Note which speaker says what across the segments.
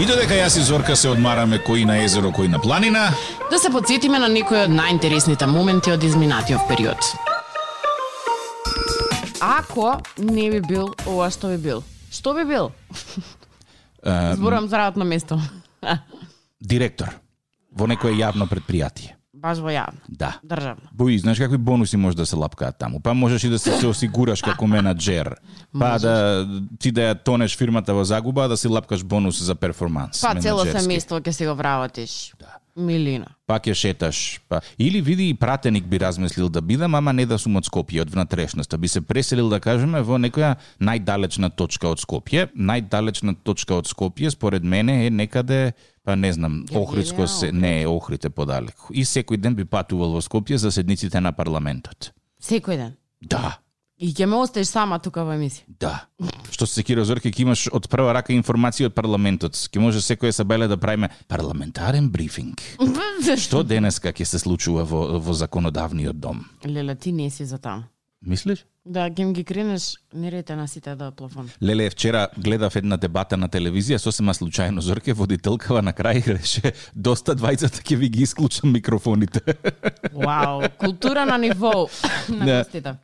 Speaker 1: И додека јас и Зорка се одмараме кои на езеро, кои на планина,
Speaker 2: Да се подсетиме на некои од најинтересните моменти од изминатиот период. Ако не би бил ова што би бил, што би бил?
Speaker 1: е,
Speaker 2: Зборам за работно место.
Speaker 1: директор во некое јавно предпријатие.
Speaker 2: Баш во јавно,
Speaker 1: Да.
Speaker 2: државно.
Speaker 1: Бои, знаеш какви бонуси може да се лапкаат таму? Па можеш и да се, се осигураш како менаџер, па да ти да ја тонеш фирмата во загуба, а да си лапкаш бонус за перформанс.
Speaker 2: Па цело
Speaker 1: менаџерски.
Speaker 2: семејство ќе си го вработиш. Да. Милина.
Speaker 1: Па ќе шеташ, па или види и пратеник би размислил да бидам, ама не да сум од Скопје, од внатрешноста, би се преселил да кажеме во некоја најдалечна точка од Скопје. Најдалечна точка од Скопје според мене е некаде па не знам, Охридско се, не е Охрид е подалеку. И секој ден би патувал во Скопје за седниците на парламентот.
Speaker 2: Секој ден.
Speaker 1: Да,
Speaker 2: И ќе ме оставиш сама тука во емисија.
Speaker 1: да. Што се секира зорке, ќе имаш од прва рака информација од парламентот. Ќе може секоја сабеле да правиме парламентарен брифинг. Што денеска ќе се случува во, во законодавниот дом?
Speaker 2: Леле, ти не си за таму.
Speaker 1: Мислиш?
Speaker 2: Да, ќе им ги кренеш нерете на сите да плафон.
Speaker 1: Леле, вчера гледав една дебата на телевизија, сосема случајно Зорке водителкава на крај реше, доста двајцата ќе ви ги исклучам микрофоните.
Speaker 2: Вау, култура на ниво
Speaker 1: Да.
Speaker 2: на гостите.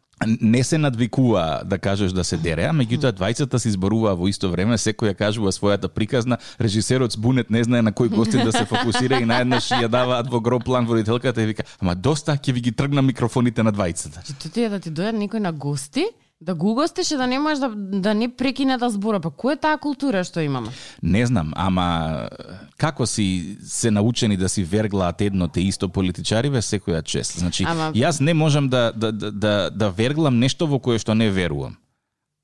Speaker 1: Не се надвикува да кажеш да се дереа, меѓутоа двајцата се изборуваа во исто време, секоја кажува својата приказна, режисерот Збунет не знае на кој гости да се фокусира и наеднаш ја даваат во гроб план водителката и вика, ама доста ќе ви ги тргна микрофоните на двајцата.
Speaker 2: Че тоа ти е да ти дојде некој на гости, да го угостиш и да не можеш да, да не прекине да збора. Па која е таа култура што имаме?
Speaker 1: Не знам, ама како си се научени да си верглаат едно те исто политичариве секоја чест. Значи, ама...
Speaker 2: Ама-
Speaker 1: јас не можам да, да, да, да, да верглам нешто во кое што не верувам.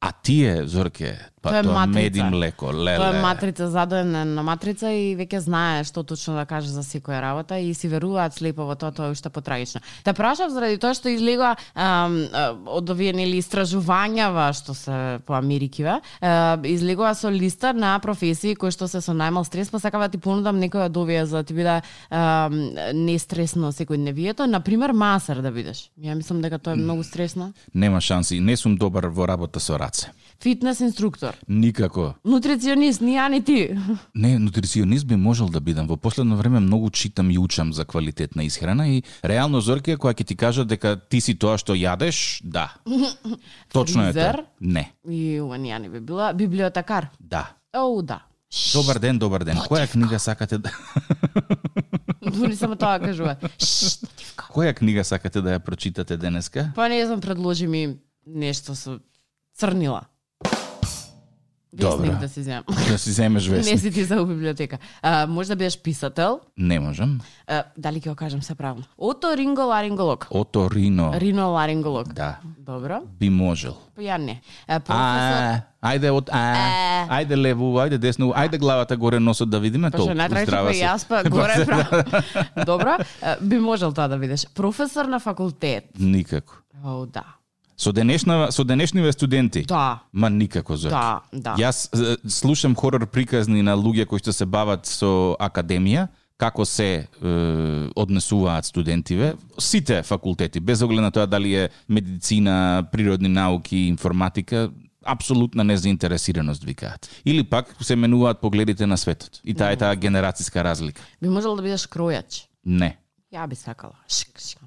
Speaker 1: А тие, Зорке, па
Speaker 2: Тоа е
Speaker 1: тоа
Speaker 2: матрица.
Speaker 1: меди млеко, леле.
Speaker 2: Тоа е матрица, задоена на матрица и веќе знае што точно да каже за секоја работа и си веруваат слепо во тоа, тоа е уште потрагично. Те прашав заради тоа што излегоа ам, а, од овие нели истражувањава што се по Америкива, а, излегоа со листа на професии кои што се со најмал стрес, па сакам да ти понудам некоја од овие за да ти биде ам, не стресно секојдневието, на пример масар да бидеш. Ја мислам дека тоа е многу стресно.
Speaker 1: Нема шанси, не сум добар во работа со раце.
Speaker 2: Фитнес инструктор,
Speaker 1: Никако.
Speaker 2: нутриционист, ни ја ни ти.
Speaker 1: Не, нутриционист би можел да бидам. Во последно време многу читам и учам за квалитетна исхрана и реално Зорке која ќе ти кажа дека ти си тоа што јадеш, да. Точно е тоа.
Speaker 2: Фризер?
Speaker 1: Не,
Speaker 2: И ова ни ја не би била библиотекар.
Speaker 1: да.
Speaker 2: Оу, да.
Speaker 1: Добар ден, добар ден. Која книга сакате да
Speaker 2: Дури само тоа кажува. Шшт.
Speaker 1: Која книга сакате да ја прочитате денеска?
Speaker 2: Па не знам, предложи ми нешто со црнила. Весник
Speaker 1: Добро.
Speaker 2: да си земам.
Speaker 1: Да си земеш
Speaker 2: Не
Speaker 1: вестник.
Speaker 2: си ти за у библиотека. А, може да бидеш писател.
Speaker 1: Не можам.
Speaker 2: А, дали ќе го кажам се правилно? Ото ринголаринголог.
Speaker 1: Ото Рино.
Speaker 2: Риноларинголог.
Speaker 1: Да.
Speaker 2: Добро.
Speaker 1: Би можел.
Speaker 2: Па ја не. А, професор...
Speaker 1: А, ајде од а, ајде лево, ајде десно, ајде главата горе носот да видиме
Speaker 2: Па што
Speaker 1: толку.
Speaker 2: најтрачно
Speaker 1: Здрава
Speaker 2: па
Speaker 1: си. да.
Speaker 2: јас па горе право. Добро, а, би можел тоа да бидеш. Професор на факултет.
Speaker 1: Никако.
Speaker 2: Оу, да.
Speaker 1: Со денешна со денешниве студенти.
Speaker 2: Да.
Speaker 1: Ма никако за.
Speaker 2: Да, да.
Speaker 1: Јас е, слушам хорор приказни на луѓе кои што се бават со академија, како се е, однесуваат студентиве, сите факултети, без оглед на тоа дали е медицина, природни науки, информатика, апсолутна незаинтересираност викаат. Или пак се менуваат погледите на светот. И таа е таа генерацијска разлика.
Speaker 2: Би можел да бидеш кројач.
Speaker 1: Не.
Speaker 2: Ја би сакала. Шик, шик.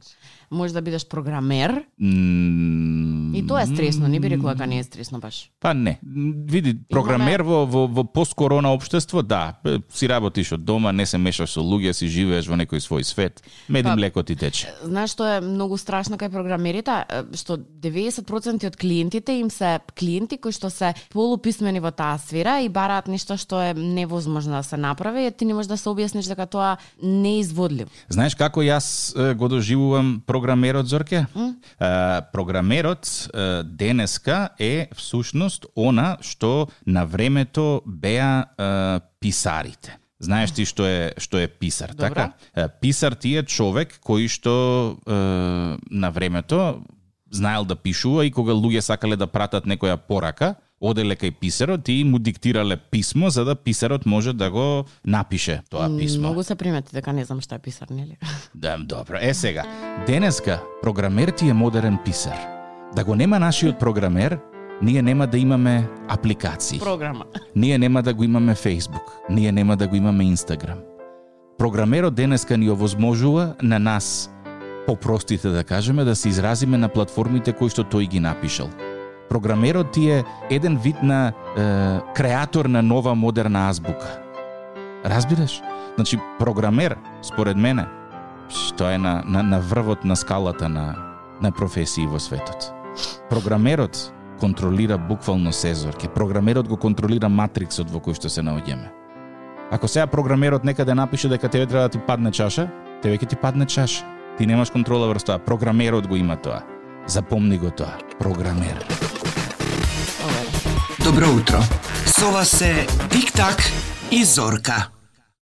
Speaker 2: Може да бидеш програмер.
Speaker 1: М,
Speaker 2: И тоа е стресно, не би рекла дека не е стресно баш.
Speaker 1: Па не. М, Види, програмер во, во, во посткорона општество, да, е, си работиш од дома, не се мешаш со луѓе, си живееш во некој свој свет, меди млеко ти тече.
Speaker 2: Знаеш што е многу страшно кај програмерите, Е, што 90% од клиентите им се клиенти кои што се полуписмени во таа сфера и бараат нешто што е невозможно да се направи, и ти не можеш да се објасниш дека тоа не е изводливо.
Speaker 1: Знаеш како јас е, го доживувам програмерот Зорке? Е, програмерот е, денеска е всушност она што на времето беа е, писарите. Знаеш ти што е што е писар,
Speaker 2: Добро.
Speaker 1: така? Е, Писар ти е човек кој што е, на времето знаел да пишува и кога луѓе сакале да пратат некоја порака, оделе кај писарот и му диктирале писмо за да писарот може да го напише тоа писмо.
Speaker 2: Многу се примети дека не знам што е писар, нели?
Speaker 1: Да, добро. Е сега, денеска програмер ти е модерен писар. Да го нема нашиот програмер, Ние нема да имаме апликации.
Speaker 2: Програма.
Speaker 1: Ние нема да го имаме Facebook. Ние нема да го имаме Instagram. Програмерот денеска ни овозможува на нас, попростите да кажеме, да се изразиме на платформите кои што тој ги напишал. Програмерот ти е еден вид на е, креатор на нова модерна азбука. Разбираш? Значи, програмер, според мене, што е на, на, на врвот на скалата на, на професии во светот. Програмерот контролира буквално сезорке. Програмерот го контролира матриксот во кој што се наоѓаме. Ако сега програмерот некаде напише дека тебе треба да ти падне чаша, тебе ќе ти падне чаша. Ти немаш контрола врз тоа. Програмерот го има тоа. Запомни го тоа. Програмер.
Speaker 3: Добро утро. Сова се Тик-так и Зорка.